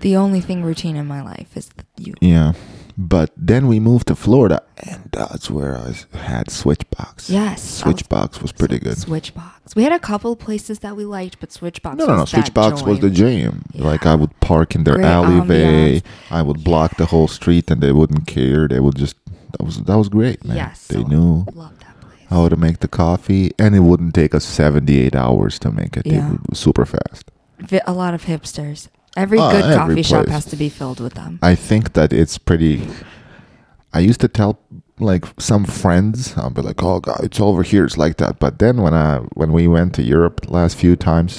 The only thing routine in my life is th- you.
Yeah. But then we moved to Florida, and that's where I s- had Switchbox.
Yes.
Switchbox was pretty good.
Switchbox. We had a couple places that we liked, but Switchbox.
No, no, no.
was that
Switchbox was the
joint.
jam. Like
Yeah.
I would park in their
Great
alleyway.
ambiance.
I would block the whole street, and they wouldn't care. They would just that was that was great, man.
Yes.
they
so
knew
Love that place.
how to make the coffee, and it wouldn't take us seventy-eight hours to make it.
Yeah.
It was super fast.
Vi- a lot of hipsters. Every
Ah,
good
every
coffee shop
place.
has to be filled with them.
I think that it's pretty. I used to tell like some friends, I'll be like, "Oh God, it's over here, it's like that." But then when I when we went to Europe last few times,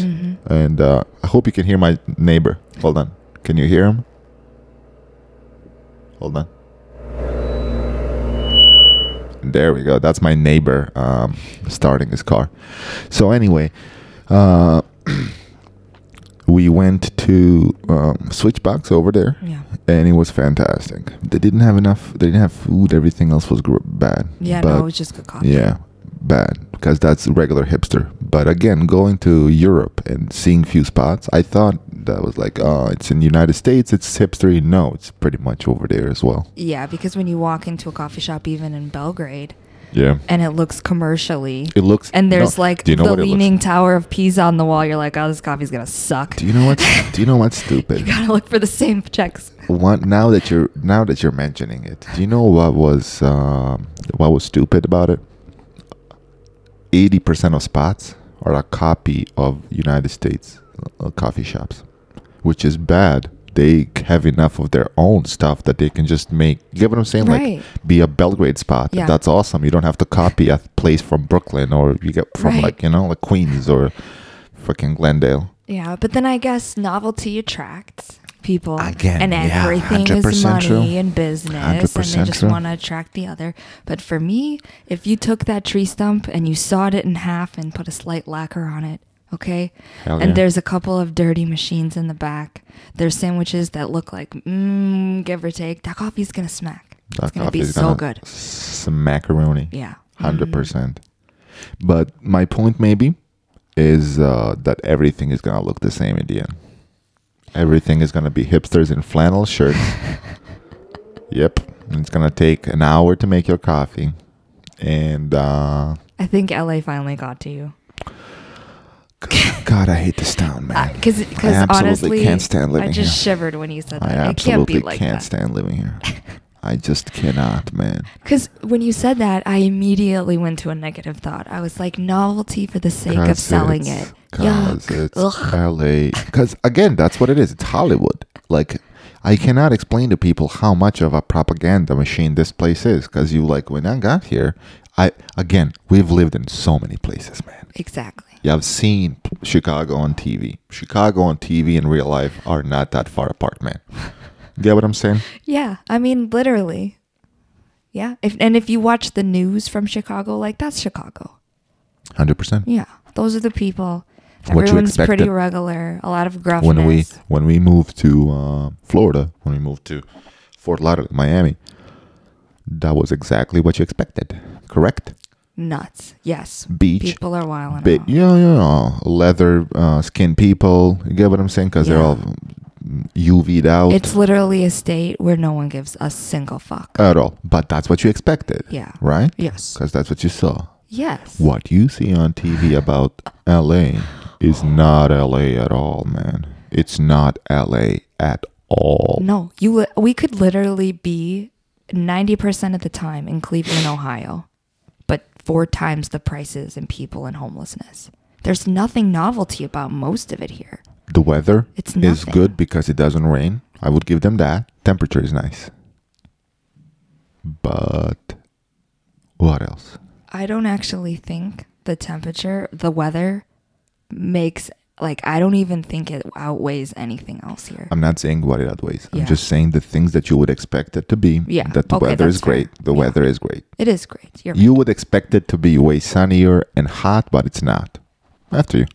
and uh, I hope you can hear my neighbor. Hold on, can you hear him? Hold on. There we go. That's my neighbor um, starting his car. So anyway, uh, we went to um, Switchbox over there
yeah.
and it was fantastic. They didn't have enough. They didn't have food. Everything else was gr- bad.
Yeah,
but,
no, it was just good coffee.
yeah, bad because that's regular hipster. But again, going to Europe and seeing few spots, I thought that was like, oh, it's in the United States, it's hipstery. No, it's pretty much over there as well.
Yeah, because when you walk into a coffee shop, even in Belgrade,
Yeah,
and it looks commercially,
it looks.
and there's
no,
like
do you know
the
what it looks-
leaning tower of Pisa on the wall, you're like, oh, this coffee's gonna suck.
Do you know what's- do you know what's stupid?
you gotta look for the same checks.
What now that you're now that you're mentioning it, do you know what was um, what was stupid about it? Eighty percent of spots are a copy of United States uh, coffee shops, which is bad. They have enough of their own stuff that they can just make. You get what I'm saying?
Right.
Like be a Belgrade spot.
Yeah.
That's awesome. You don't have to copy a place from Brooklyn or you get from
Right.
like you know like Queens or fucking Glendale.
Yeah, but then I guess novelty attracts people
Again,
and
yeah,
everything is
100%
money
true.
and business, and they
100%
just
true.
want to attract the other. But for me, if you took that tree stump and you sawed it in half and put a slight lacquer on it, okay,
Hell
and
Oh, yeah.
there's a couple of dirty machines in the back. There's sandwiches that look like, mm, give or take, that coffee's gonna smack. it's gonna be
coffee's
so
gonna
good.
s- Macaroni.
Yeah.
hundred percent. But my point maybe is uh, that everything is gonna look the same in the end. Everything is gonna be hipsters in flannel shirts. yep, And it's gonna take an hour to make your coffee, and uh,
I think LA finally got to you.
God, God, I hate this town, man.
Because
I absolutely
honestly,
can't stand living
I just
here.
shivered when you said that.
I
it can't be
absolutely can't,
like that.
stand living here. I just cannot, man.
Because when you said that, I immediately went to a negative thought. I was like, novelty for the sake of
'Cause
selling
it's-
it.
'cause
Yuck.
it's
Ugh.
LA. Because again, that's what it is. It's Hollywood. Like, I cannot explain to people how much of a propaganda machine this place is. Because you like when I got here, I again we've lived in so many places, man.
Exactly.
Yeah, I've seen p- Chicago on TV. Chicago on TV and real life are not that far apart, man. Get what I'm saying?
Yeah. I mean, literally. Yeah. If, and if you watch the news from Chicago, like, that's Chicago.
Hundred percent.
Yeah. Those are the people.
What you
Everyone's pretty
expected.
regular. A lot of gruffness.
when we when we moved to uh, Florida, when we moved to Fort Lauderdale, Miami, that was exactly what you expected, correct?
Nuts. Yes.
Beach,
People are wild.
bit, yeah, yeah, yeah, leather uh, skin people. You get what I'm saying? Because they're
Yeah.
all UV'd out
It's literally a state where no one gives a single fuck.
at all. But that's what you expected,
Yeah.
right?
Yes.
Because that's what you saw.
Yes.
What you see on TV about LA is not LA at all, man. It's not LA at all.
No, you. Li- we could literally be ninety percent of the time in Cleveland, Ohio, but four times the prices and people and homelessness. There's nothing novelty about most of it here.
The weather
It's
is
nothing.
good because it doesn't rain. I would give them that. Temperature is nice. But what else?
I don't actually think the temperature, the weather, makes like I don't even think it outweighs anything else here.
I'm not saying what it outweighs.
Yeah.
I'm just saying the things that you would expect it to be.
Yeah.
That the
Okay,
weather is
that's fair.
great. The
Yeah.
weather is great.
It is great. You're
You would expect it to be way sunnier and hot, but it's not. After you.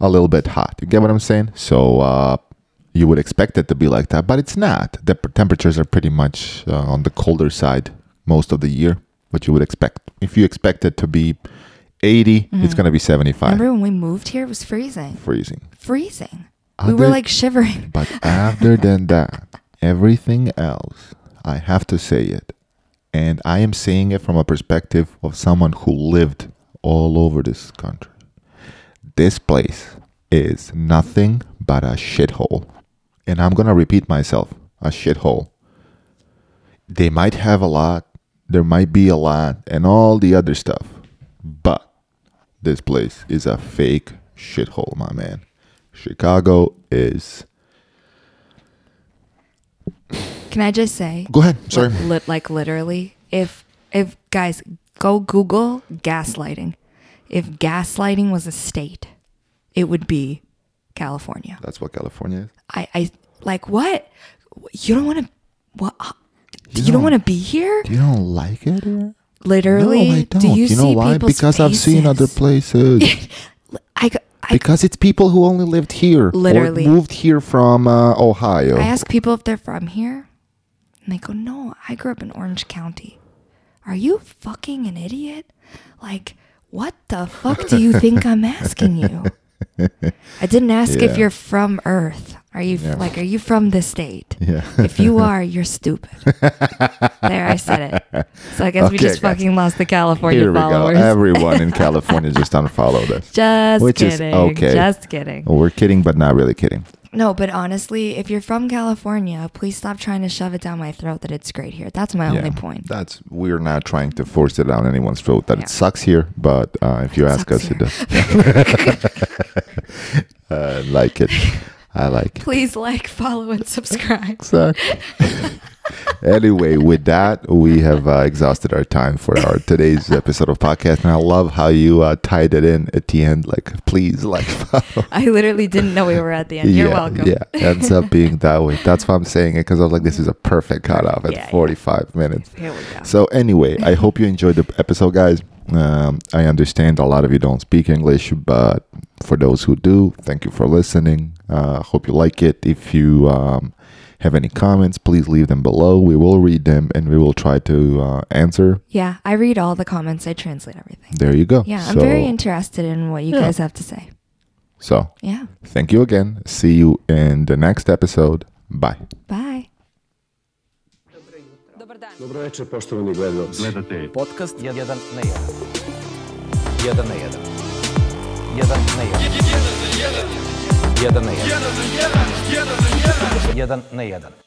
A little bit hot. You get what I'm saying? So uh, you would expect it to be like that, but it's not. The p- temperatures are pretty much uh, on the colder side most of the year, what you would expect. If you expect it to be
Mm-hmm.
80, it's going to be 75.
Remember when we moved here? It was freezing.
Freezing.
Freezing. We were
Other-
like shivering.
But other than that, everything else, I have to say it. And I am saying it from a perspective of someone who lived all over this country. This place is nothing but a shithole. And I'm going to repeat myself a shithole. They might have a lot, there might be a lot, and all the other stuff. But this place is a fake shithole, my man. Chicago is.
Can I just say?
Go ahead. Sorry.
Like, lit, like literally, if if guys go Google gaslighting, if gaslighting was a state, it would be California.
That's what California is.
I, I like what you don't want to what uh, you,
don't-
don't want to be here.
You don't like it? here?
Literally,
no, I don't.
do you, see
know why?
people's
Because I've seen other
faces?
places.
I, go- I,
because it's people who only lived here. or
Literally.
moved here from uh, Ohio.
I ask people if they're from here, and they go, "No, I grew up in Orange County." Are you fucking an idiot? Like, what the fuck do you think I'm asking you? I didn't ask
Yeah.
if you're from Earth. Are you
Yeah.
like, are you from this state?
Yeah.
If you are, you're stupid. there, I said it. So I guess we
Okay,
just
guys.
fucking lost the California
here we go.
followers.
Everyone in California just unfollowed us.
just
Which is
kidding.
okay.
Just kidding.
Oh, We're kidding, but not really kidding.
No, but honestly, if you're from California, please stop trying to shove it down my throat that it's great here. That's my only point.
That's we're not trying to force it down anyone's throat. That
Yeah.
it sucks here, but uh, if you ask us,
sucks
it does. I like it. I like it.
Please like, follow, and subscribe.
Exactly. anyway, with that, we have uh, exhausted our time for our today's episode of podcast, and I love how you uh, tied it in at the end, like please, like follow.
I literally didn't know we were at the end. You're
yeah,
welcome.
Yeah, ends up being that way. That's why I'm saying it because I was like, this is a perfect cutoff at
Yeah, yeah.
45 minutes.
Here we go.
So anyway, I hope you enjoyed the episode, guys. Um, I understand a lot of you don't speak English, but for those who do, thank you for listening. Uh, hope you like it. If you um, have any comments, please leave them below. We will read them and we will try to uh, answer.
yeah, I read all the comments. I translate everything.
There you go.
Yeah, I'm
so,
very interested in what you
Yeah.
guys have to say.
so
Yeah.
thank you again. See you in the next episode. Bye.
Bye.
Dobro večer, poštovani gledalci.
Gledate
Podcast jedan na jedan. Jedan na jedan. Jedan na jedan. Jedan na jedan. Jedan na jedan. Jedan na jedan.